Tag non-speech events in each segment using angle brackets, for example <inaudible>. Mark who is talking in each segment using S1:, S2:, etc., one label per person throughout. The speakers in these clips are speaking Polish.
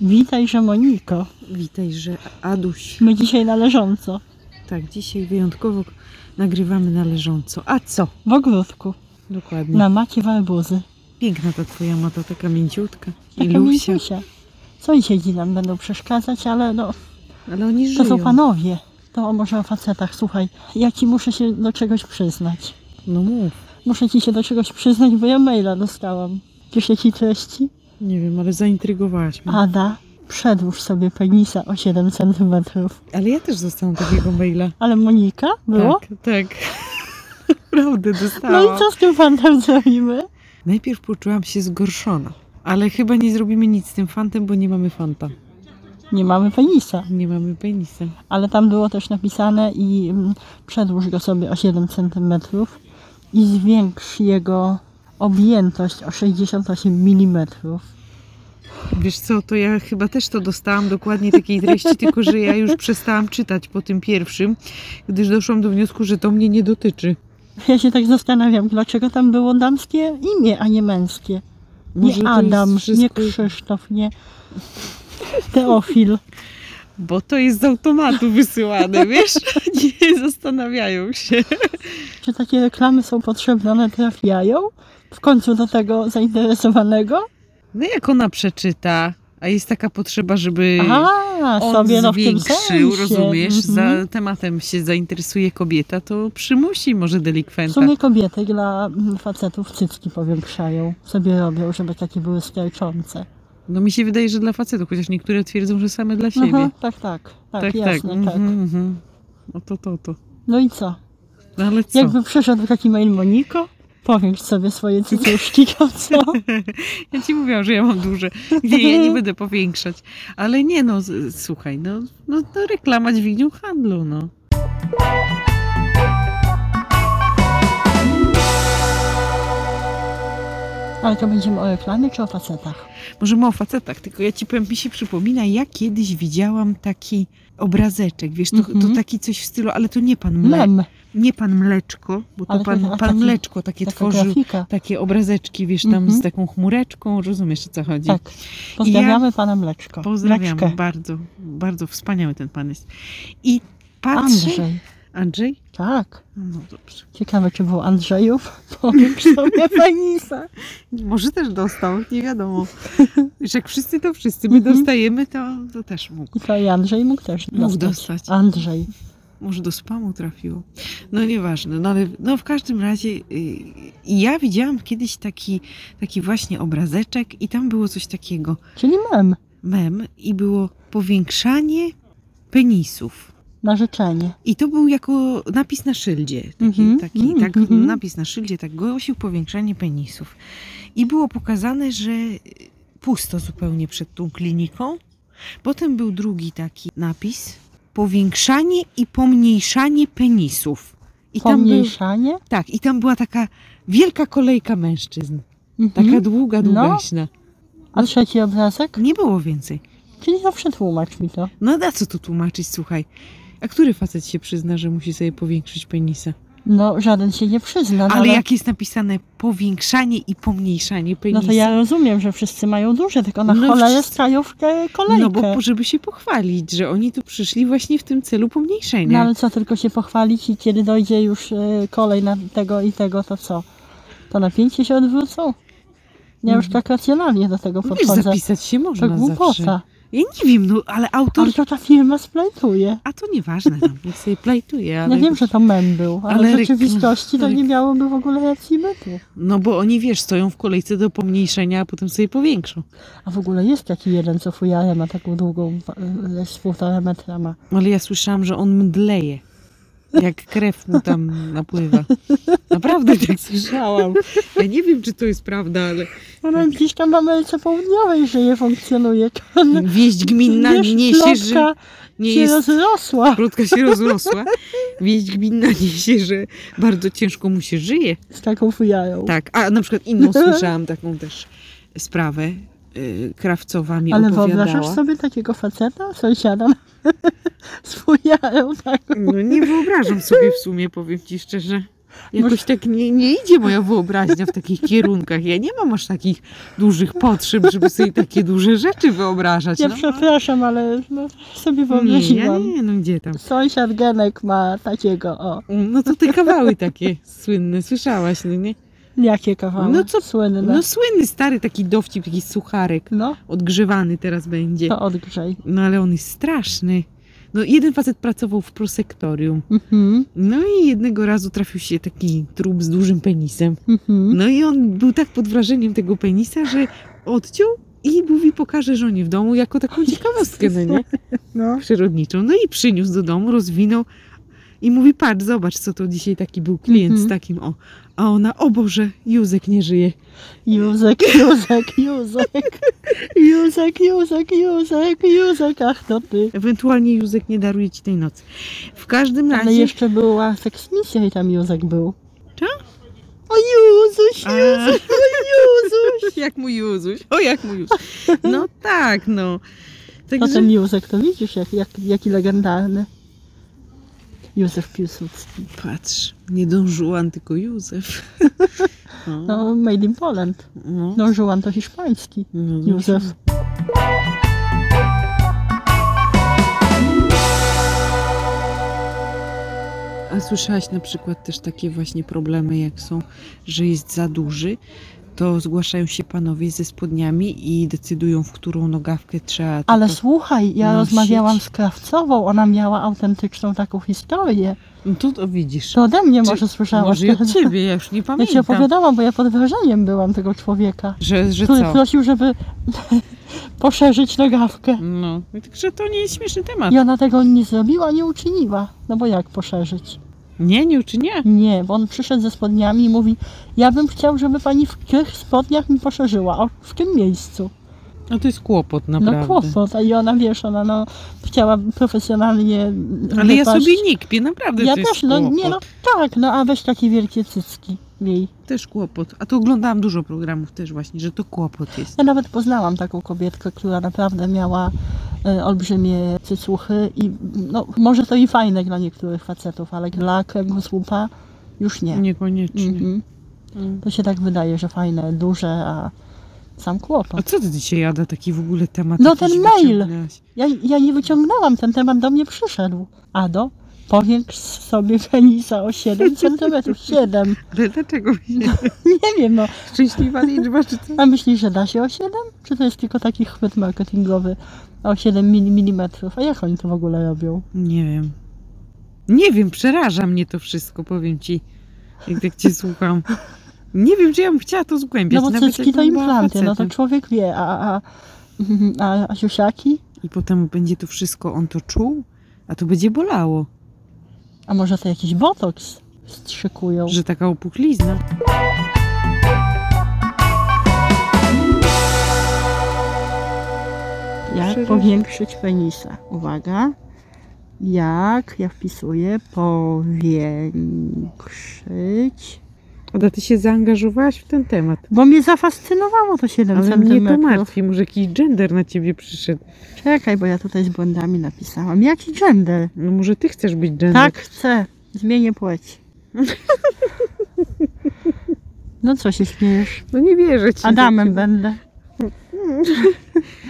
S1: Witaj, że Moniko.
S2: Witaj, że Aduś.
S1: My dzisiaj na leżąco,
S2: Tak, dzisiaj wyjątkowo nagrywamy na leżąco. A co?
S1: w ogródku,
S2: Dokładnie.
S1: na macie warbuzy.
S2: Piękna ta twoja mata, taka mięciutka. I
S1: Taka
S2: Lusia.
S1: mięsiusia. Co i siedzi nam będą przeszkadzać, ale no,
S2: Ale oni żyją.
S1: to są panowie. To o może o facetach, słuchaj. Ja ci muszę się do czegoś przyznać.
S2: No mów.
S1: Muszę ci się do czegoś przyznać, bo ja maila dostałam. Piszę ci treści.
S2: Nie wiem, ale zaintrygowałaś mnie.
S1: Ada, przedłuż sobie penisa o 7 cm.
S2: Ale ja też dostałam takiego maila.
S1: Ale Monika? Było?
S2: Tak, tak. <laughs> Prawdę dostałam.
S1: No i co z tym fantem zrobimy?
S2: Najpierw poczułam się zgorszona. Ale chyba nie zrobimy nic z tym fantem, bo nie mamy fanta.
S1: Nie mamy penisa.
S2: Nie mamy penisa.
S1: ale tam było też napisane i mm, przedłuż go sobie o 7 cm i zwiększ jego objętość o 68 mm.
S2: Wiesz co, to ja chyba też to dostałam dokładnie takiej treści, tylko że ja już przestałam czytać po tym pierwszym, gdyż doszłam do wniosku, że to mnie nie dotyczy.
S1: Ja się tak zastanawiam, dlaczego tam było damskie imię, a nie męskie.
S2: Może
S1: nie
S2: to jest
S1: Adam, nie
S2: wszystko-
S1: Krzysztof, nie Teofil.
S2: Bo to jest z automatu
S1: <laughs>
S2: wysyłane, wiesz? Nie zastanawiają się.
S1: Czy takie reklamy są potrzebne, one trafiają w końcu do tego zainteresowanego?
S2: No jak ona przeczyta, a jest taka potrzeba, żeby
S1: A,
S2: on
S1: sobie no w tym sensie.
S2: zwiększył, rozumiesz,
S1: Mhm.
S2: za tematem się zainteresuje kobieta, to przymusi może
S1: W
S2: delikwenta.
S1: sumie kobiety dla mm, facetów cycki powiększają, sobie robią, żeby takie były sterczące.
S2: No mi się wydaje, że dla facetów, chociaż niektóre twierdzą, że same dla siebie.
S1: Aha, tak, tak, tak, jasne, tak.
S2: mhm, mhm. No to, to, to.
S1: No i co?
S2: No ale co?
S1: Jakby przyszedł taki mail Moniko, powiększ sobie swoje cycuszki, <laughs> to co?
S2: Ja ci mówiłam, że ja mam duże. Nie, ja nie
S1: <laughs>
S2: będę powiększać. Ale nie no, z- słuchaj, no, no, no reklama dźwignią handlu, no.
S1: Ale to będziemy o reklamie czy o facetach?
S2: Możemy o facetach, tylko ja ci powiem, mi się przypomina, ja kiedyś widziałam taki obrazeczek, wiesz, to, to
S1: Mhm.
S2: taki coś w stylu, ale to nie pan Mle,
S1: Mem,
S2: nie pan Mleczko, bo to
S1: Ale to
S2: pan,
S1: ta-
S2: pan
S1: taki-
S2: Mleczko takie
S1: taka
S2: tworzył,
S1: grafika.
S2: takie obrazeczki, wiesz, tam
S1: Mhm.
S2: z taką chmureczką, rozumiesz o co chodzi.
S1: Tak. Pozdrawiamy pana Mleczko.
S2: Pozdrawiam,
S1: Mleczkę.
S2: bardzo, bardzo wspaniały ten pan jest. I patrzę...
S1: Andrzej.
S2: Andrzej?
S1: Tak.
S2: No dobrze.
S1: Ciekawe, czy był Andrzejów. <laughs> Powiększ sobie <laughs> penisa.
S2: Może też dostał, nie <laughs> wiadomo. Wiesz, jak wszyscy to wszyscy, my
S1: Mhm.
S2: dostajemy, to, to też mógł.
S1: I to i Andrzej mógł też dostać.
S2: Mógł dostać.
S1: Andrzej.
S2: Może do spamu trafiło. No nieważne, no ale no, w każdym razie y, ja widziałam kiedyś taki, taki właśnie obrazeczek i tam było coś takiego,
S1: Czyli mem.
S2: mem i było powiększanie penisów.
S1: Na życzenie.
S2: I to był jako napis na szyldzie. Taki,
S1: Mhm,
S2: taki
S1: mm,
S2: tak,
S1: mhm.
S2: napis na szyldzie tak głosił powiększanie penisów. I było pokazane, że pusto zupełnie przed tą kliniką. Potem był drugi taki napis. Powiększanie i pomniejszanie penisów. I tam, był,
S1: Pomniejszanie.
S2: tak, I tam była taka wielka kolejka mężczyzn. Taka
S1: Mhm.
S2: długa,
S1: No.
S2: długaśna.
S1: A trzeci obrazek?
S2: Nie było więcej.
S1: Czyli zawsze tłumacz mi to.
S2: No na co tu tłumaczyć, słuchaj. A który facet się przyzna, że musi sobie powiększyć penisa?
S1: No, żaden się nie przyzna. no
S2: Ale jak jest napisane powiększanie i pomniejszanie penisa?
S1: No to ja rozumiem, że wszyscy mają duże, tylko na
S2: No
S1: cholerę
S2: wszyscy-
S1: stają w ke- kolejkę.
S2: No bo po- żeby się pochwalić, że oni tu przyszli właśnie w tym celu
S1: No
S2: pomniejszenia.
S1: ale co, tylko się pochwalić i kiedy dojdzie już e, kolej na tego i tego, to co? To napięcie się odwrócą? Ja już
S2: Mhm.
S1: tak racjonalnie do tego
S2: Wiesz,
S1: podchodzę.
S2: zapisać się można
S1: to
S2: zawsze.
S1: głupota.
S2: Ja nie wiem, no ale autor...
S1: Ale to ta firma splajtuje.
S2: A to nieważne, tam, niech sobie plajtuje, ale...
S1: Ja wiem, że to mem był, ale,
S2: Ale
S1: w
S2: ryk-
S1: rzeczywistości to
S2: ryk-
S1: nie miałoby w ogóle racji bytu.
S2: No bo oni, wiesz, stoją w kolejce do pomniejszenia, a potem sobie powiększą.
S1: A w ogóle jest taki jeden, co fujarę ma taką długą, wa- e, z półtora metra ma.
S2: Ale ja słyszałam, że on mdleje, jak krew mu tam napływa. Naprawdę
S1: <laughs>
S2: tak słyszałam. Ja nie wiem, czy to jest prawda, ale...
S1: Ona gdzieś tam w Ameryce Południowej żyje, funkcjonuje.
S2: Wieść gminna
S1: Wiesz,
S2: niesie, że...
S1: plotka się rozrosła.
S2: Plotka się rozrosła. Wieść gminna niesie, że bardzo ciężko mu się żyje.
S1: Z taką fujarą.
S2: Tak, a na
S1: <laughs>
S2: przykład inną słyszałam taką też sprawę. y, Krawcowa mi
S1: Ale wyobrażasz
S2: opowiadała.
S1: sobie takiego faceta, sąsiada <laughs> z fujarą tak? taką?
S2: No nie wyobrażam sobie w sumie, powiem ci szczerze. Jakoś tak nie, nie idzie moja wyobraźnia w takich kierunkach. Ja nie mam aż takich dużych potrzeb, żeby sobie takie duże rzeczy wyobrażać.
S1: Ja
S2: no.
S1: przepraszam, ale no, sobie
S2: Nie, ja
S1: wyobraziłam.
S2: nie, no gdzie tam.
S1: Sąsiad Genek ma takiego, o,
S2: No to te kawały takie słynne, słyszałaś, no nie?
S1: jakie kawałki
S2: No co-
S1: słynne. No,
S2: No słynny, stary taki dowcip, taki sucharek, odgrzewany teraz będzie.
S1: to odgrzej.
S2: No ale on jest straszny. No jeden facet pracował w prosektorium.
S1: Mhm,
S2: No i jednego razu trafił się taki trup z dużym penisem.
S1: mhm.
S2: No i on był tak pod wrażeniem tego penisa, że odciął i mówi pokaże żonie w domu
S1: <laughs>
S2: jako taką ciekawostkę, no nie?
S1: No.
S2: Przyrodniczą. No i przyniósł do domu, rozwinął i mówi patrz, zobacz co to dzisiaj taki był klient
S1: Mhm.
S2: z takim o. A ona, o Boże, Józek nie żyje.
S1: Józek, Józek,
S2: <laughs>
S1: Józek. Józek, Józek, Józek, Józek, ach to ty.
S2: Ewentualnie Józek nie daruje ci tej nocy. W każdym razie...
S1: Ale jeszcze była seksmisja i tam Józek był.
S2: Co?
S1: O Józuś,
S2: A.
S1: Józuś, o Józuś.
S2: <laughs> Jak mu Józuś, o jak mu Józuś. No tak, no.
S1: To
S2: Także...
S1: ten Józek, to widzisz, jak, jak, jaki legendarny. Józef Piłsudski.
S2: Patrz, nie dążyłam, tylko Józef. <laughs> No,
S1: No, made in Poland.
S2: no.
S1: No, Żułan to hiszpański.
S2: No,
S1: Józef.
S2: A słyszałaś na przykład też takie właśnie problemy, jak są, że jest za duży, to zgłaszają się panowie ze spodniami i decydują, w którą nogawkę trzeba.
S1: Ale
S2: tylko-
S1: słuchaj, ja
S2: No,
S1: rozmawiałam
S2: sieć.
S1: z Krawcową, ona miała autentyczną taką historię.
S2: No to, to widzisz.
S1: To ode mnie
S2: Czy-
S1: może słyszałaś.
S2: Może i
S1: to-
S2: od ciebie, ja już nie
S1: Ja ci
S2: pamiętam.
S1: opowiadałam, bo ja pod wrażeniem byłam tego człowieka,
S2: że, że
S1: który
S2: co?
S1: prosił, żeby <laughs> poszerzyć nogawkę.
S2: No, także to nie jest śmieszny temat.
S1: I ona tego nie zrobiła, nie uczyniła. No bo jak poszerzyć?
S2: Nie, nie uczynię.
S1: Nie, bo on przyszedł ze spodniami i mówi, ja bym chciał, żeby pani w tych spodniach mi poszerzyła. O, w tym miejscu.
S2: No to jest kłopot, naprawdę.
S1: No kłopot. A I ona, wiesz, ona no, chciała profesjonalnie
S2: Ale ja
S1: wypaść.
S2: sobie nie kpię, naprawdę
S1: Ja
S2: to jest
S1: też, no
S2: kłopot.
S1: nie no, tak, no a weź takie wielkie cycki jej.
S2: Też kłopot. A to oglądałam dużo programów też właśnie, że to kłopot jest.
S1: Ja nawet poznałam taką kobietkę, która naprawdę miała e, olbrzymie cycuchy i no, może to i fajne dla niektórych facetów, ale dla kręgosłupa już nie.
S2: Niekoniecznie.
S1: Mhm.
S2: Mm.
S1: To się tak wydaje, że fajne, duże, a sam
S2: A
S1: kłopot.
S2: co ty dzisiaj jada taki w ogóle temat?
S1: No
S2: jakiś
S1: ten mail.
S2: wyciągnęłaś?
S1: Ja, ja nie wyciągnęłam, ten temat do mnie przyszedł. Ado, powiększ sobie penisa o 7 cm. 7.
S2: Ale dlaczego nie?
S1: Nie wiem, no.
S2: <laughs> Szczęśliwa liczba czy co?
S1: A myślisz, że da się o 7? Czy to jest tylko taki chwyt marketingowy o 7 mm? A jak oni to w ogóle robią?
S2: Nie wiem. Nie wiem, przeraża mnie to wszystko, powiem ci. Jak tak cię słucham. Nie wiem, czy ja bym chciała to zgłębiać.
S1: No bo
S2: nawet
S1: cycki to
S2: jakbym była
S1: implanty, no to
S2: facetem.
S1: człowiek wie, a, a, a, mhm, a, a siusiaki?
S2: I potem będzie to wszystko on to czuł, a to będzie bolało,
S1: A może to jakiś botoks strzykują?
S2: że taka opuchlizna.
S1: Jak powiększyć penisa? Uwaga. Jak, ja wpisuję, powiększyć.
S2: Oda, ty się zaangażowałaś w ten temat.
S1: Bo mnie zafascynowało to 7
S2: Ale mnie to
S1: centymetrów.
S2: martwi, może jakiś gender na ciebie przyszedł.
S1: Czekaj, bo ja tutaj z błędami napisałam. Jaki gender?
S2: No może ty chcesz być gender.
S1: Tak, chcę. Zmienię płeć. <laughs> No co się śmiejesz?
S2: No nie wierzę ci.
S1: Adamem będę.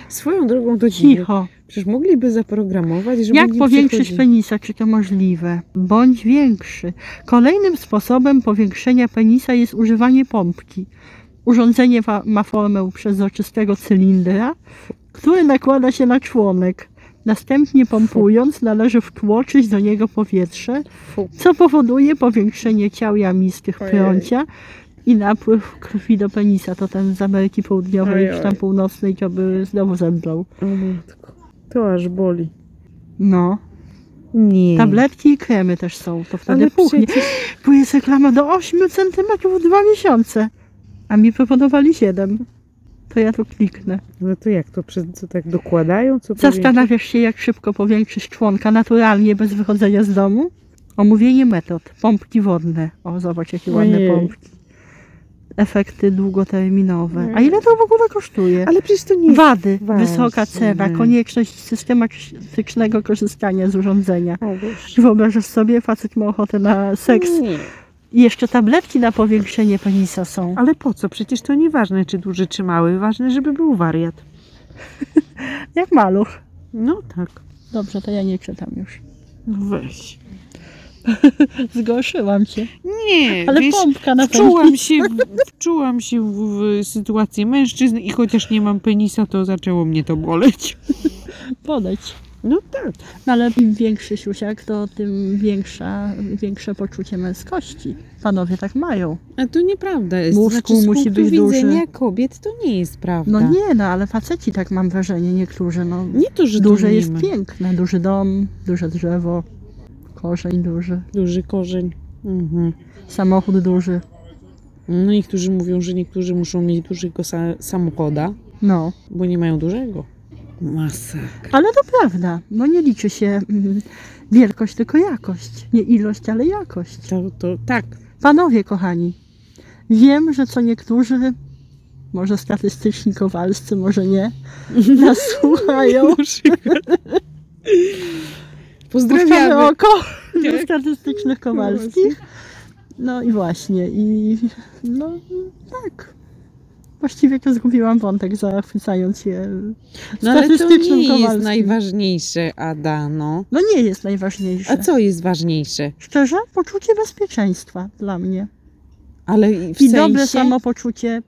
S2: Swoją drogą to cicho.
S1: Cicho.
S2: Przecież mogliby zaprogramować, żeby
S1: Jak
S2: nie
S1: powiększyć
S2: przychodził.
S1: penisa? Czy to możliwe? Bądź większy. Kolejnym sposobem powiększenia penisa jest używanie pompki. Urządzenie wa- ma formę przezroczystego cylindra, który nakłada się na członek. Następnie pompując, należy wtłoczyć do niego powietrze,
S2: Fu.
S1: co powoduje powiększenie ciał jamistych
S2: Ojej.
S1: prącia i napływ krwi do penisa. To ten z Ameryki Południowej,
S2: Ojej.
S1: czy tam Północnej, to by znowu zemdlał.
S2: O matko, to aż boli.
S1: No.
S2: Nie.
S1: Tabletki i kremy też są, to wtedy
S2: Ale
S1: puchnie.
S2: przecież
S1: Bo jest reklama do 8 cm w 2 miesiące, a mi proponowali 7. To ja tu kliknę.
S2: No to jak to? Przez co tak dokładają? Co
S1: Zastanawiasz się, jak szybko powiększyć członka naturalnie, bez wychodzenia z domu? Omówienie metod. Pompki wodne. O, zobacz, jakie ładne
S2: Ojej.
S1: pompki. Efekty długoterminowe. A
S2: Mm.
S1: ile to w ogóle kosztuje?
S2: Ale przecież to nie jest...
S1: Wady,
S2: Właśnie.
S1: wysoka cena, konieczność systematycznego korzystania z urządzenia.
S2: Ależ.
S1: Wyobrażasz sobie, facet ma ochotę na seks.
S2: Nie.
S1: I jeszcze tabletki na powiększenie penisa są.
S2: Ale po co? Przecież to nieważne, czy duży, czy mały. Ważne, żeby był wariat.
S1: Jak maluch.
S2: No tak.
S1: Dobrze, to ja nie czytam już.
S2: No weź.
S1: Zgorszyłam się.
S2: Nie,
S1: Ale
S2: wiesz,
S1: pompka na pewno.
S2: wczułam się, w- wczułam się w, w sytuację mężczyzn i chociaż nie mam penisa, to zaczęło mnie to boleć.
S1: Podać.
S2: No tak.
S1: No ale im większy siusiak, to tym większa, większe poczucie męskości. Panowie tak mają.
S2: A to nieprawda jest.
S1: Mózgu
S2: z
S1: musi
S2: punktu
S1: być
S2: widzenia
S1: duży.
S2: kobiet to nie jest prawda.
S1: No nie, no ale faceci tak mam wrażenie, niektórzy. No,
S2: Nie to, że
S1: duże
S2: to
S1: jest
S2: nie ma.
S1: piękne. Duży dom, duże drzewo, korzeń duży,
S2: Duży korzeń. Mhm.
S1: samochód duży.
S2: No niektórzy mówią, że niektórzy muszą mieć dużego sa- samochoda,
S1: No,
S2: bo nie mają dużego. Masa.
S1: ale to prawda. No nie liczy się mm, wielkość, tylko jakość. Nie ilość, ale jakość.
S2: To, to tak.
S1: Panowie kochani, wiem, że co niektórzy, może statystyczni kowalscy, może nie,
S2: <laughs>
S1: nas słuchają. Puszczamy
S2: Pozdrawiamy.
S1: oko
S2: Tak.
S1: do statystycznych kowalskich. No i właśnie, i no tak. Właściwie to zgubiłam wątek, zachwycając się
S2: No ale to
S1: statystycznym
S2: nie jest
S1: kowalskim.
S2: najważniejsze, Ada, no.
S1: No nie jest najważniejsze.
S2: A co jest ważniejsze?
S1: Szczerze, poczucie bezpieczeństwa dla mnie.
S2: Ale i w
S1: I
S2: sensie...
S1: dobre samopoczucie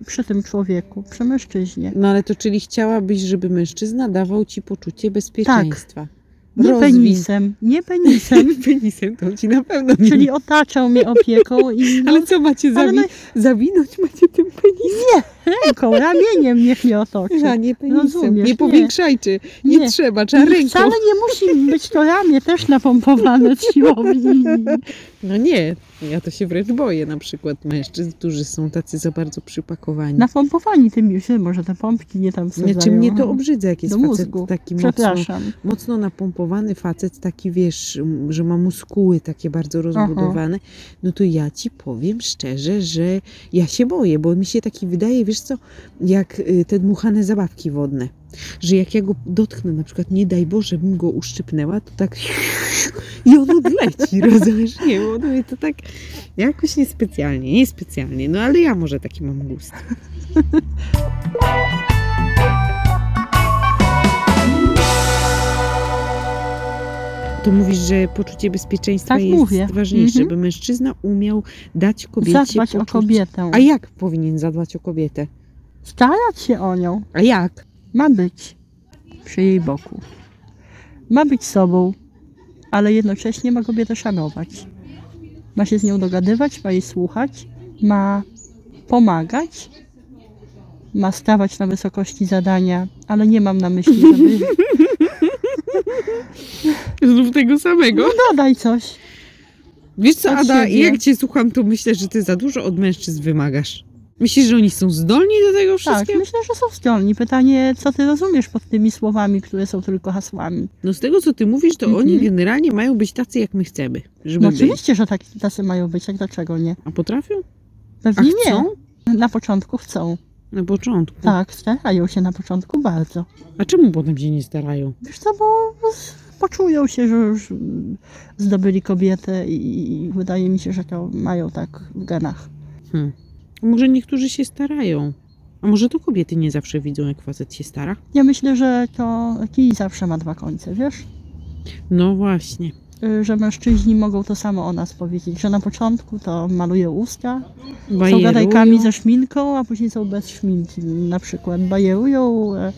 S1: y, przy tym człowieku, przy mężczyźnie.
S2: No ale to czyli chciałabyś, żeby mężczyzna dawał ci poczucie bezpieczeństwa.
S1: Tak. Nie
S2: Rozwin- <laughs>
S1: penisem, nie penisem,
S2: Penisem to ci na pewno <laughs> nie...
S1: czyli otaczał mnie opieką i
S2: <laughs> Ale co macie
S1: ale
S2: zawi...
S1: no,
S2: zawinąć? Macie tym penisem?
S1: ręką, ramieniem niech mnie otoczy.
S2: A nie penisem.
S1: Rozumiesz, nie.
S2: nie powiększajcie. Nie,
S1: Nie.
S2: trzeba, trzeba
S1: I
S2: ręką.
S1: wcale nie musi być to ramię też napompowane <laughs> z siłowni.
S2: No nie, ja to się wręcz boję na przykład mężczyzn, którzy są tacy za bardzo przypakowani.
S1: Napompowani tym już, może te pompki nie tam wsadzają.
S2: Znaczy mnie to obrzydza, jak jest
S1: Do
S2: facet
S1: mózgu.
S2: taki mocno,
S1: Przepraszam.
S2: mocno napompowany facet, taki wiesz, m, że ma muskuły takie bardzo rozbudowane, no to ja ci powiem szczerze, że ja się boję, bo mi się taki wydaje, wiesz co, jak y, te dmuchane zabawki wodne, że jak ja go dotknę, na przykład nie daj Boże, bym go uszczypnęła, to tak i on odleci, <laughs> rozumiesz? Nie, bo on mnie to tak jakoś niespecjalnie, niespecjalnie, no ale ja może taki mam gust. To mówisz, że poczucie bezpieczeństwa
S1: Tak
S2: jest
S1: mówię.
S2: ważniejsze,
S1: Mhm.
S2: by mężczyzna umiał dać kobiecie
S1: Zadbać o
S2: poczucie-
S1: kobietę.
S2: A jak powinien zadbać o kobietę?
S1: Starać się o nią.
S2: A jak?
S1: ma być przy jej boku. Ma być sobą, ale jednocześnie ma kobietę szanować. Ma się z nią dogadywać, ma jej słuchać, ma pomagać, ma stawać na wysokości zadania, ale nie mam na myśli,
S2: <laughs>
S1: żeby...
S2: Znów tego samego.
S1: Dodaj No, coś. Tak,
S2: Wiesz co,
S1: Od
S2: Ada,
S1: siebie.
S2: jak cię słucham, to myślę, że ty za dużo od mężczyzn wymagasz. Myślisz, że oni są zdolni do tego
S1: Tak,
S2: wszystkiego?
S1: myślę, że są zdolni. Pytanie, co ty rozumiesz pod tymi słowami, które są tylko hasłami?
S2: No z tego, co ty mówisz, to
S1: Mhm.
S2: oni generalnie mają być tacy, jak my chcemy, żeby
S1: No
S2: byli.
S1: oczywiście, że tak, tacy mają być, jak dlaczego nie?
S2: A potrafią? A
S1: Pewnie nie.
S2: chcą?
S1: Na początku chcą.
S2: Na początku.
S1: Tak, starają się na początku bardzo.
S2: A czemu potem się nie starają?
S1: Wiesz co, bo z- poczują się, że już mm, zdobyli kobietę i i wydaje mi się, że to mają tak w genach.
S2: Hmm. A może niektórzy się starają? A może to kobiety nie zawsze widzą, jak facet się stara?
S1: Ja myślę, że to kij zawsze ma dwa końce, wiesz?
S2: No właśnie.
S1: Y, Że mężczyźni mogą to samo o nas powiedzieć, że na początku to malują usta, są
S2: Bajerują.
S1: gadajkami ze szminką, a później są bez szminki na przykład. Bajerują, e,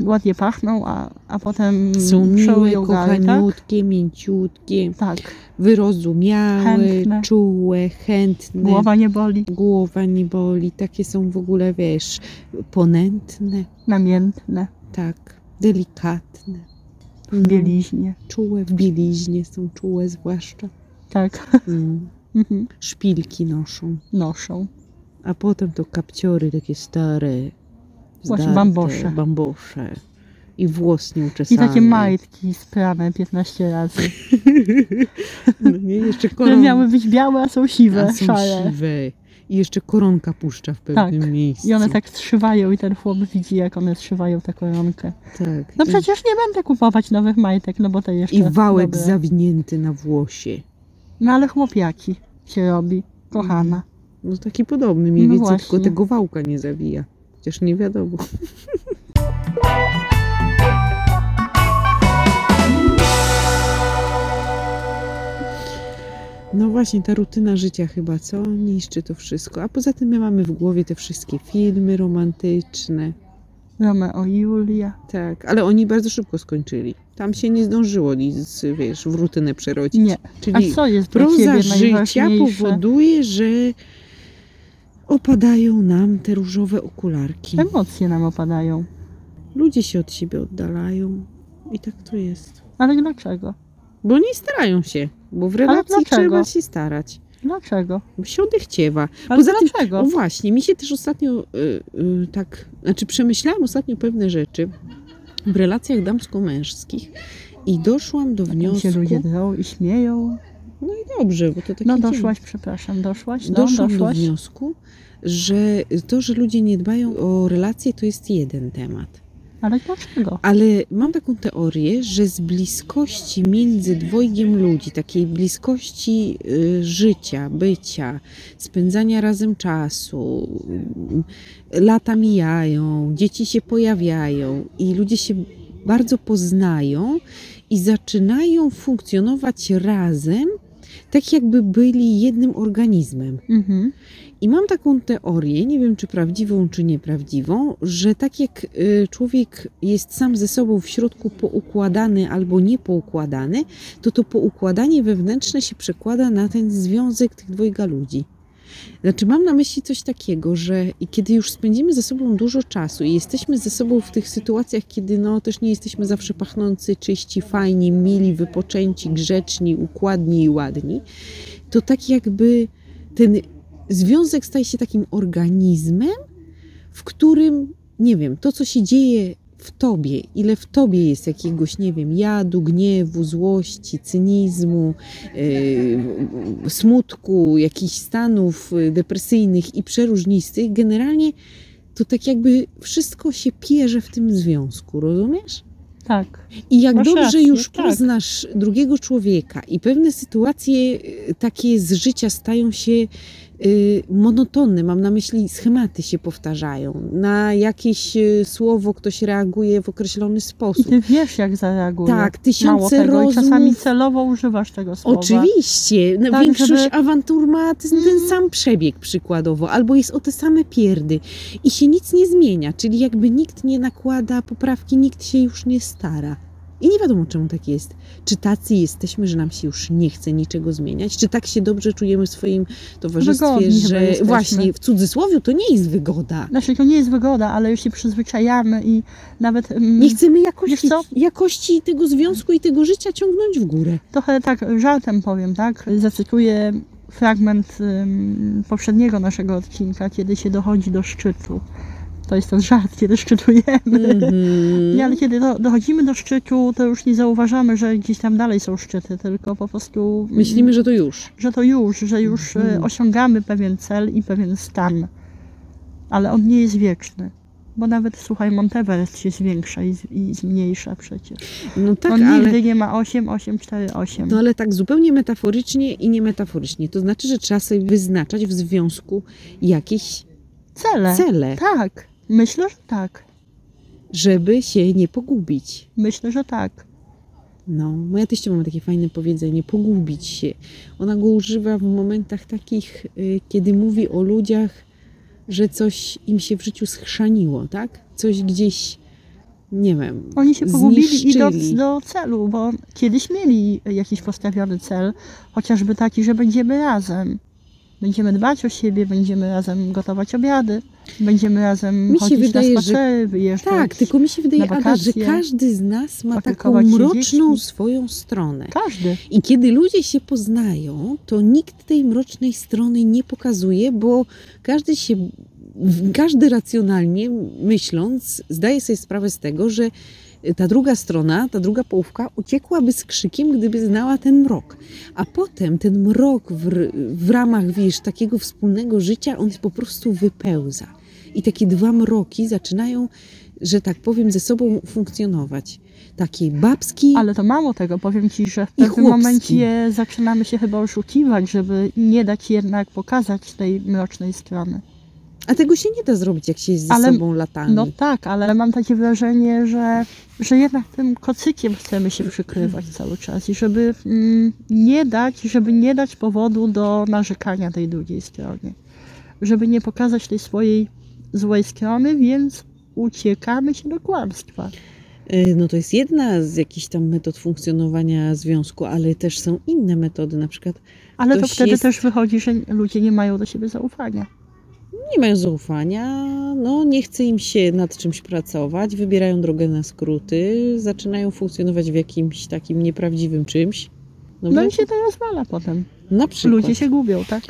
S1: ładnie pachną, a, a potem
S2: Są miłe,
S1: przełują gary, tak?
S2: kochaniutkie, mięciutkie,
S1: Tak,
S2: wyrozumiałe,
S1: Chętne.
S2: czułe, chętne.
S1: głowa nie boli,
S2: Głowa nie boli, takie są w ogóle, wiesz, ponętne,
S1: namiętne,
S2: tak, delikatne. Mm,
S1: w bieliźnie.
S2: Czułe w bieliźnie są czułe zwłaszcza.
S1: Tak.
S2: Mm.
S1: Mhm.
S2: <laughs> Szpilki noszą,
S1: Noszą.
S2: a potem to kapciory takie stare, zdarte,
S1: bambosze.
S2: bambosze. I włos
S1: I
S2: nieuczesany.
S1: takie majtki z pramy 15 razy.
S2: <laughs> No nie, jeszcze
S1: Które
S2: koron...
S1: miały być białe, a są siwe,
S2: a są
S1: szare.
S2: siwe. I jeszcze koronka puszcza w pewnym miejscu.
S1: I one tak zszywają i ten chłop widzi, jak one zszywają tę koronkę.
S2: tak.
S1: No
S2: I-
S1: przecież nie będę kupować nowych majtek, no bo te jeszcze...
S2: I wałek
S1: dobre.
S2: zawinięty na włosie.
S1: No ale chłopiaki się robi, kochana.
S2: No taki podobny mniej
S1: No
S2: więcej,
S1: właśnie.
S2: tylko tego wałka nie zabija. Chociaż nie wiadomo. <laughs> No właśnie, ta rutyna życia chyba, co? Niszczy to wszystko. A poza tym my mamy w głowie te wszystkie filmy romantyczne.
S1: Romeo i Julia.
S2: Tak, ale oni bardzo szybko skończyli. Tam się nie zdążyło nic, wiesz, w rutynę przerodzić.
S1: Nie. A
S2: Czyli
S1: co jest dla
S2: proza
S1: ciebie
S2: życia
S1: najważniejsze?
S2: powoduje, że opadają nam te różowe okularki.
S1: Emocje nam opadają.
S2: Ludzie się od siebie oddalają i tak to jest.
S1: Ale dlaczego?
S2: Bo nie starają się, bo w
S1: dlaczego?
S2: relacji trzeba się starać.
S1: Dlaczego?
S2: Bo się odechciewa.
S1: Ale
S2: Poza tym,
S1: dlaczego?
S2: o właśnie, mi się też ostatnio y, y, tak, znaczy przemyślałam ostatnio pewne rzeczy w relacjach damsko-męskich i doszłam do
S1: Tam
S2: wniosku,
S1: się ludzie drą i śmieją.
S2: no i dobrze, bo to takie
S1: No
S2: dzieje.
S1: doszłaś, przepraszam, doszłaś, no,
S2: doszłam do
S1: doszłaś.
S2: wniosku, że to, że ludzie nie dbają o relacje, to jest jeden temat.
S1: Ale dlaczego?
S2: Ale mam taką teorię, że z bliskości między dwojgiem ludzi, takiej bliskości y, życia, bycia, spędzania razem czasu, y, lata mijają, dzieci się pojawiają i ludzie się bardzo poznają i zaczynają funkcjonować razem, tak jakby byli jednym organizmem.
S1: Mhm.
S2: I mam taką teorię, nie wiem czy prawdziwą, czy nieprawdziwą, że tak jak y, człowiek jest sam ze sobą w środku poukładany albo niepoukładany, to to poukładanie wewnętrzne się przekłada na ten związek tych dwojga ludzi. Znaczy, mam na myśli coś takiego, że i kiedy już spędzimy ze sobą dużo czasu i jesteśmy ze sobą w tych sytuacjach, kiedy no też nie jesteśmy zawsze pachnący, czyści, fajni, mili, wypoczęci, grzeczni, układni i ładni, to tak jakby ten związek staje się takim organizmem, w którym, nie wiem, to co się dzieje w tobie, ile w tobie jest jakiegoś, nie wiem, jadu, gniewu, złości, cynizmu, yy, smutku, jakichś stanów yy, depresyjnych i przeróżnistych, generalnie to tak jakby wszystko się pierze w tym związku, rozumiesz?
S1: Tak.
S2: I jak
S1: Masz
S2: dobrze
S1: rację,
S2: już
S1: tak.
S2: poznasz drugiego człowieka i pewne sytuacje y, takie z życia stają się y, monotonne, mam na myśli schematy się powtarzają, na jakieś y, słowo ktoś reaguje w określony
S1: I
S2: sposób.
S1: ty wiesz, jak zareaguje.
S2: Tak,
S1: Mhm. Mało
S2: tysiące
S1: tego, i
S2: rozmów.
S1: czasami celowo używasz tego słowa.
S2: Oczywiście, no,
S1: Tak,
S2: większość
S1: żeby-
S2: awantur ma ten, ten
S1: Mhm.
S2: sam przebieg przykładowo, albo jest o te same pierdy i się nic nie zmienia, czyli jakby nikt nie nakłada poprawki, nikt się już nie stara. I nie wiadomo czemu tak jest. Czy tacy jesteśmy, że nam się już nie chce niczego zmieniać? Czy tak się dobrze czujemy w swoim towarzystwie,
S1: Wygodni chyba
S2: że
S1: jesteśmy.
S2: właśnie w cudzysłowie to nie jest wygoda.
S1: Znaczy, to nie jest wygoda, ale już się przyzwyczajamy i nawet mm,
S2: Nie chcemy jakości,
S1: Wiesz co?
S2: jakości tego związku i tego życia ciągnąć w górę.
S1: trochę tak żartem powiem, tak? Zacytuję fragment ym, poprzedniego naszego odcinka, kiedy się dochodzi do szczytu. To jest ten żart, kiedy szczytujemy.
S2: Mhm.
S1: Nie, ale kiedy do, dochodzimy do szczytu, to już nie zauważamy, że gdzieś tam dalej są szczyty, tylko po prostu mm,
S2: Myślimy, że to już.
S1: że to już, że już e,
S2: Mhm.
S1: osiągamy pewien cel i pewien stan. Ale on nie jest wieczny. Bo nawet, słuchaj, Monteverest się zwiększa i, z- i zmniejsza przecież.
S2: No tak,
S1: on
S2: ale...
S1: nigdy nie ma 8, 8, 4, 8.
S2: No ale tak zupełnie metaforycznie i niemetaforycznie. To znaczy, że trzeba sobie wyznaczać w związku jakieś
S1: Cele.
S2: cele,
S1: Tak. Myślę, że tak.
S2: żeby się nie pogubić.
S1: Myślę, że tak.
S2: No, moja teścia ma takie fajne powiedzenie, pogubić się. Ona go używa w momentach takich, y, kiedy mówi o ludziach, że coś im się w życiu schrzaniło, tak? Coś gdzieś, nie wiem,
S1: Oni się pogubili idąc
S2: zniszczyli.
S1: do celu, bo kiedyś mieli jakiś postawiony cel, chociażby taki, że będziemy razem. Będziemy dbać o siebie, będziemy razem gotować obiady, będziemy razem
S2: Mi się
S1: chodzić
S2: wydaje,
S1: na
S2: że-
S1: spacery, wyjeżdżać.
S2: Tak, tylko mi się wydaje, Ada, że
S1: wakacje,
S2: każdy z nas ma taką
S1: opiekować się
S2: mroczną
S1: dziećmi.
S2: swoją stronę.
S1: Każdy.
S2: I kiedy ludzie się poznają, to nikt tej mrocznej strony nie pokazuje, bo każdy się, każdy racjonalnie myśląc, zdaje sobie sprawę z tego, że ta druga strona, ta druga połówka uciekłaby z krzykiem, gdyby znała ten mrok. A potem ten mrok w, r- w ramach, wiesz, takiego wspólnego życia, on po prostu wypełza. I takie dwa mroki zaczynają że tak powiem, ze sobą funkcjonować. Takiej babskiej,
S1: Ale to mało tego, powiem Ci, że w
S2: I
S1: pewnym
S2: chłopski.
S1: momencie zaczynamy się chyba oszukiwać, żeby nie dać jednak pokazać tej mrocznej strony.
S2: a tego się nie da zrobić, jak się jest ze
S1: Ale-
S2: sobą latami.
S1: No tak, ale mam takie wrażenie, że, że jednak tym kocykiem chcemy się przykrywać
S2: Mhm.
S1: cały czas i żeby mm, nie dać, żeby nie dać powodu do narzekania tej drugiej stronie. Żeby nie pokazać tej swojej złej strony, więc uciekamy się do kłamstwa.
S2: Y, No to jest jedna z jakichś tam metod funkcjonowania związku, ale też są inne metody, na przykład
S1: Ale to
S2: Ktoś
S1: wtedy
S2: jest-
S1: też wychodzi, że ludzie nie mają do siebie zaufania.
S2: nie mają zaufania, no nie chce im się nad czymś pracować, wybierają drogę na skróty, zaczynają funkcjonować w jakimś takim nieprawdziwym czymś. No,
S1: No
S2: bo-
S1: i się to rozwala potem.
S2: na przykład.
S1: Ludzie się gubią, tak?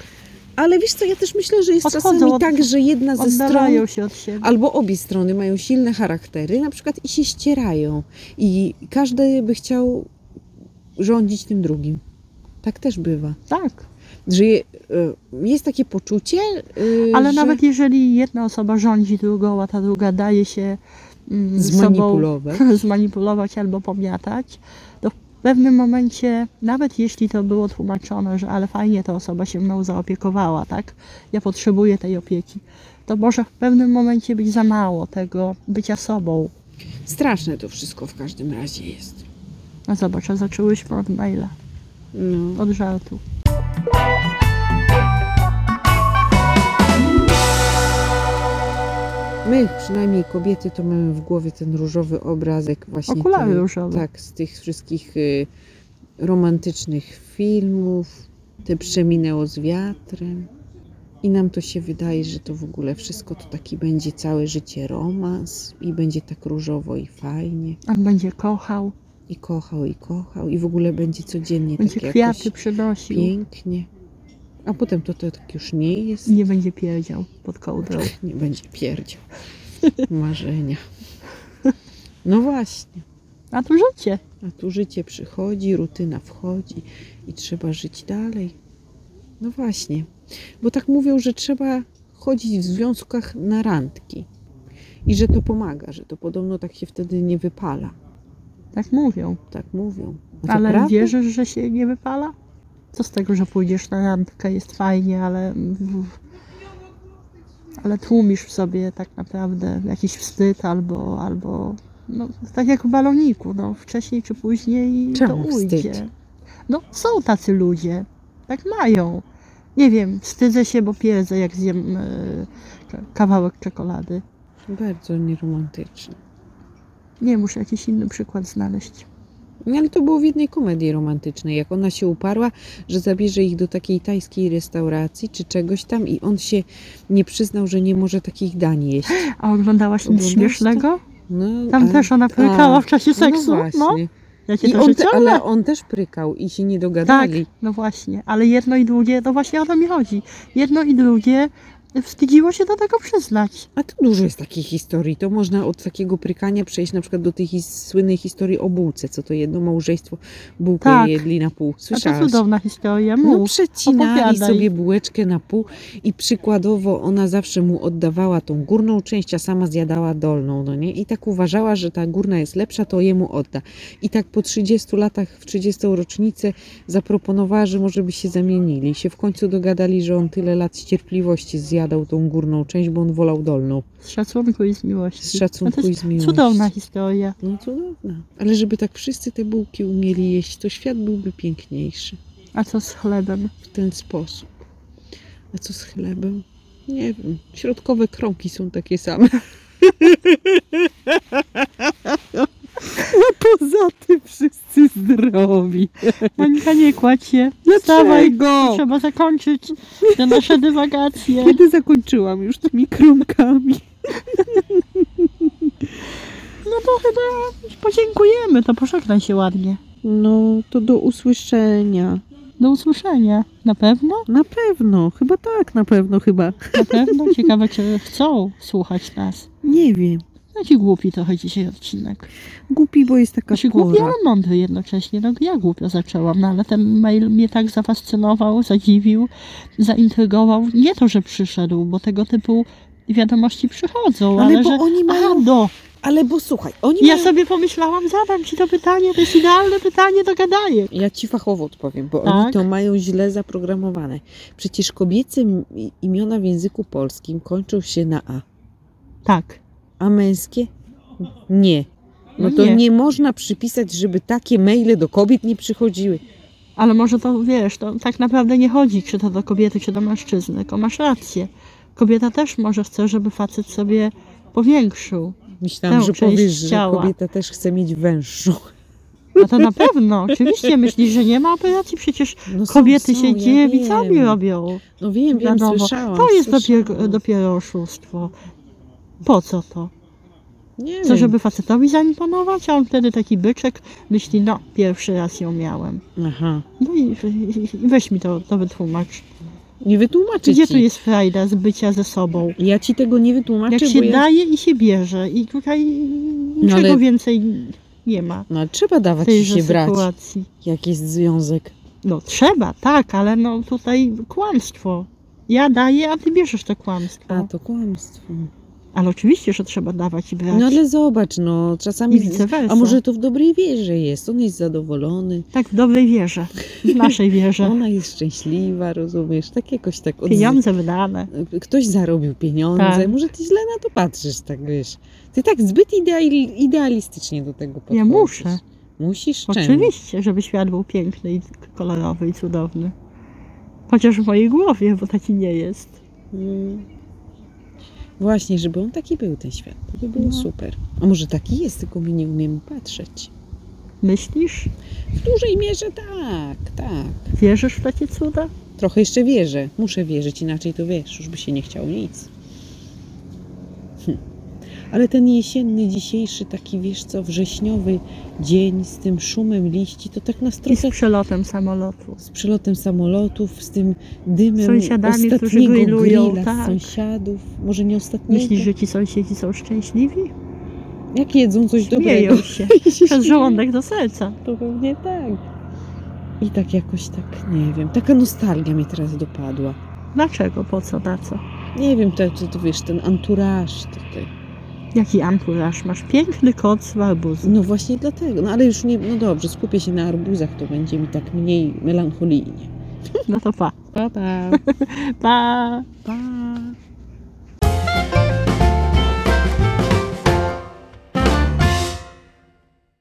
S2: Ale wiesz co, ja też myślę, że jest
S1: Odchodzą
S2: czasami
S1: od-
S2: tak, że jedna ze stron
S1: Oddalają się od siebie.
S2: albo obie strony mają silne charaktery, na przykład i się ścierają i każdy by chciał rządzić tym drugim. Tak też bywa.
S1: Tak.
S2: że je, y, jest takie poczucie, y,
S1: Ale
S2: że
S1: nawet jeżeli jedna osoba rządzi drugą, a ta druga daje się mm, sobą
S2: zmanipulować.
S1: <laughs> zmanipulować albo pomiatać, to w pewnym momencie, nawet jeśli to było tłumaczone, że ale fajnie ta osoba się mną zaopiekowała, tak? Ja potrzebuję tej opieki. To może w pewnym momencie być za mało tego bycia sobą.
S2: Straszne to wszystko w każdym razie jest.
S1: No zobacz, a zaczęłyśmy od maila,
S2: No.
S1: od żartu.
S2: My, przynajmniej kobiety, to mamy w głowie ten różowy obrazek właśnie.
S1: Okulary
S2: ten-
S1: różowe.
S2: Tak, z tych wszystkich y, romantycznych filmów, te przeminęło z wiatrem. I nam to się wydaje, że to w ogóle wszystko to taki będzie całe życie romans i będzie tak różowo i fajnie.
S1: On będzie kochał,
S2: I kochał, i kochał, i w ogóle będzie codziennie
S1: będzie
S2: tak jakoś...
S1: kwiaty przynosił.
S2: Pięknie. A potem to, to tak już nie jest.
S1: Nie będzie pierdział pod kołdrą.
S2: Nie będzie pierdział. Marzenia. No właśnie.
S1: A tu życie.
S2: A tu życie przychodzi, rutyna wchodzi i trzeba żyć dalej. No właśnie. Bo tak mówią, że trzeba chodzić w związkach na randki. I że to pomaga, że to podobno tak się wtedy nie wypala.
S1: Tak mówią.
S2: Tak mówią. A to
S1: Ale
S2: prawda?
S1: wierzysz, że się nie wypala? Co z tego, że pójdziesz na randkę, jest fajnie, ale... Ale tłumisz w sobie tak naprawdę jakiś wstyd albo... albo no, tak jak w baloniku, no, wcześniej czy później
S2: Czemu
S1: to
S2: wstyd?
S1: ujdzie. No są tacy ludzie, tak mają. Nie wiem, wstydzę się, bo pierdzę jak zjem e, k- kawałek czekolady.
S2: Bardzo nieromantyczne.
S1: Nie, muszę jakiś inny przykład znaleźć.
S2: No ale to było w jednej komedii romantycznej, jak ona się uparła, że zabierze ich do takiej tajskiej restauracji czy czegoś tam i on się nie przyznał, że nie może takich dań jeść.
S1: A oglądałaś nic
S2: Oglądasz to?
S1: śmiesznego?
S2: No,
S1: Tam
S2: a-
S1: też ona płakała w czasie seksu.
S2: No
S1: No,
S2: właśnie.
S1: jakie
S2: I
S1: to
S2: on te,
S1: życiowe.
S2: ale on też prykał i się nie
S1: Tak,
S2: dogadali.
S1: no właśnie. Ale jedno i drugie, to właśnie o to mi chodzi. Jedno i drugie e, wstydziło się do tego przyznać.
S2: A to dużo jest takich historii. To można od takiego prykania przejść na przykład do tej his- słynnej historii o bułce, co to jedno małżeństwo bułkę
S1: Tak.
S2: jedli na pół.
S1: A to
S2: Słyszałaś?
S1: cudowna historia.
S2: No
S1: Mów.
S2: przecinali
S1: opowiadaj.
S2: sobie bułeczkę na pół i przykładowo ona zawsze mu oddawała tą górną część, a sama zjadała dolną, no nie? I tak uważała, że ta górna jest lepsza, to jemu odda. I tak po 30 latach, w 30 rocznicę zaproponowała, że może by się zamienili. Się w końcu dogadali, że on tyle lat z cierpliwości zjadał tą górną część, bo on wolał dolną.
S1: Z szacunku i z miłości.
S2: Z szacunku
S1: No to
S2: i z miłości.
S1: Cudowna historia.
S2: No cudowna. Ale żeby tak wszyscy te bułki umieli jeść, to świat byłby piękniejszy
S1: A co z chlebem?
S2: w ten sposób. A co z chlebem? Nie wiem. Środkowe kromki są takie <laughs> same. A No poza tym wszyscy zdrowi.
S1: Monika, nie kładź się.
S2: No
S1: Wstawaj.
S2: Dlaczego?
S1: Trzeba zakończyć te nasze dywagacje.
S2: Kiedy zakończyłam już tymi kromkami?
S1: No to chyba podziękujemy. To pożegnaj się ładnie.
S2: No to do usłyszenia.
S1: Do usłyszenia. Na pewno?
S2: Na pewno, chyba tak, na pewno chyba.
S1: Na pewno. Ciekawe, czy chcą słuchać nas.
S2: Nie wiem.
S1: Taki głupi trochę dzisiaj odcinek.
S2: Głupi, bo jest taka
S1: Znaczy głupi,
S2: pora.
S1: ale mądry jednocześnie. No ja głupio zaczęłam, no ale ten mail mnie tak zafascynował, zadziwił, zaintrygował. Nie
S2: No
S1: to, że przyszedł, bo tego typu wiadomości przychodzą, ale,
S2: Ale bo
S1: że
S2: oni mają
S1: a do,
S2: ale bo słuchaj, oni
S1: Ja
S2: mają...
S1: sobie pomyślałam, zadam ci to pytanie, to jest idealne pytanie do gadania.
S2: Ja ci fachowo odpowiem, bo
S1: Tak?
S2: oni to mają źle zaprogramowane. Przecież kobiece m- imiona w języku polskim kończą się na A,
S1: Tak.
S2: a męskie nie. No
S1: No
S2: to
S1: nie.
S2: nie. można przypisać, żeby takie maile do kobiet nie przychodziły.
S1: Ale może to, wiesz, to tak naprawdę nie chodzi, czy to do kobiety, czy do mężczyzny, tylko masz rację. Kobieta też może chce, żeby facet sobie powiększył.
S2: Myślałam,
S1: Tę
S2: że
S1: część
S2: powiesz, że
S1: ciała.
S2: kobieta też chce mieć węższą.
S1: A to na pewno, oczywiście, myślisz, że nie ma operacji, przecież
S2: No są-
S1: kobiety
S2: są,
S1: się
S2: ja
S1: dziewicami
S2: wiem.
S1: robią.
S2: No wiem,
S1: Na
S2: wiem,
S1: nowo.
S2: słyszałam.
S1: To jest dopiero,
S2: słyszałam.
S1: dopiero oszustwo. Po co to?
S2: Nie
S1: Co,
S2: wiem.
S1: żeby facetowi zaimponować, a on wtedy taki byczek myśli, no, pierwszy raz ją miałem.
S2: Aha.
S1: No i, i, i weź mi to, to wytłumacz.
S2: Nie wytłumaczę
S1: Gdzie
S2: ci.
S1: tu jest frajda z bycia ze sobą?
S2: Ja ci tego nie
S1: Jak
S2: wytłumaczę,
S1: się
S2: bo ja...
S1: daje i się bierze. I tutaj niczego
S2: No ale-
S1: więcej nie ma
S2: No ale trzeba
S1: w
S2: dawać
S1: tejże
S2: się brać.
S1: sytuacji.
S2: Jak jest związek.
S1: No trzeba, tak, ale no tutaj kłamstwo. Ja daję, a ty bierzesz to kłamstwo.
S2: A, to kłamstwo.
S1: Ale oczywiście, że trzeba dawać i brać.
S2: No ale zobacz, no
S1: I
S2: czasami...
S1: vice versa.
S2: A może to w dobrej wierze jest. On jest zadowolony,
S1: Tak w dobrej wierze. W naszej wierze.
S2: ona jest szczęśliwa, rozumiesz? Tak jakoś tak... <laughs> Od...
S1: Tak. Pieniądze wydane.
S2: Ktoś zarobił pieniądze.
S1: Tak.
S2: Może ty źle na to patrzysz, tak wiesz. Ty tak zbyt ideal... idealistycznie do tego podchodzisz.
S1: Ja muszę.
S2: Musisz czemu?
S1: Oczywiście, żeby świat był piękny i kolorowy i cudowny. Chociaż w mojej głowie, bo taki nie jest.
S2: Mm. Właśnie, żeby on taki był, ten świat. To by było
S1: No.
S2: super. A może taki jest, tylko my nie umiemy patrzeć.
S1: Myślisz?
S2: W dużej mierze tak, tak.
S1: Wierzysz w takie cuda?
S2: Trochę jeszcze wierzę. Muszę wierzyć, inaczej to wiesz, już by się nie chciało nic. Hm. Ale ten jesienny, dzisiejszy, taki wiesz co, wrześniowy dzień z tym szumem liści, to tak nas
S1: I z
S2: trochę
S1: przelotem samolotu.
S2: z przelotem samolotów, z tym dymem
S1: Sąsiadami, którzy
S2: ostatniego
S1: grillują,
S2: grilla
S1: tak.
S2: z sąsiadów, może nie ostatniego.
S1: Myślisz, że ci sąsiedzi są szczęśliwi?
S2: Jak jedzą <laughs> coś
S1: Śmieją
S2: dobrego.
S1: się. Przez żołądek do serca.
S2: To pewnie tak. I tak jakoś tak, nie wiem, taka nostalgia mnie teraz dopadła.
S1: Dlaczego? Po co? Na co?
S2: Nie wiem, to, to, to wiesz, ten anturaż tutaj.
S1: Jaki anturaż masz? Piękny kot z arbuzu.
S2: No właśnie dlatego, no ale już nie, no dobrze, skupię się na arbuzach, to będzie mi tak mniej melancholijnie.
S1: No to pa.
S2: Pa, pa.
S1: Pa!
S2: pa.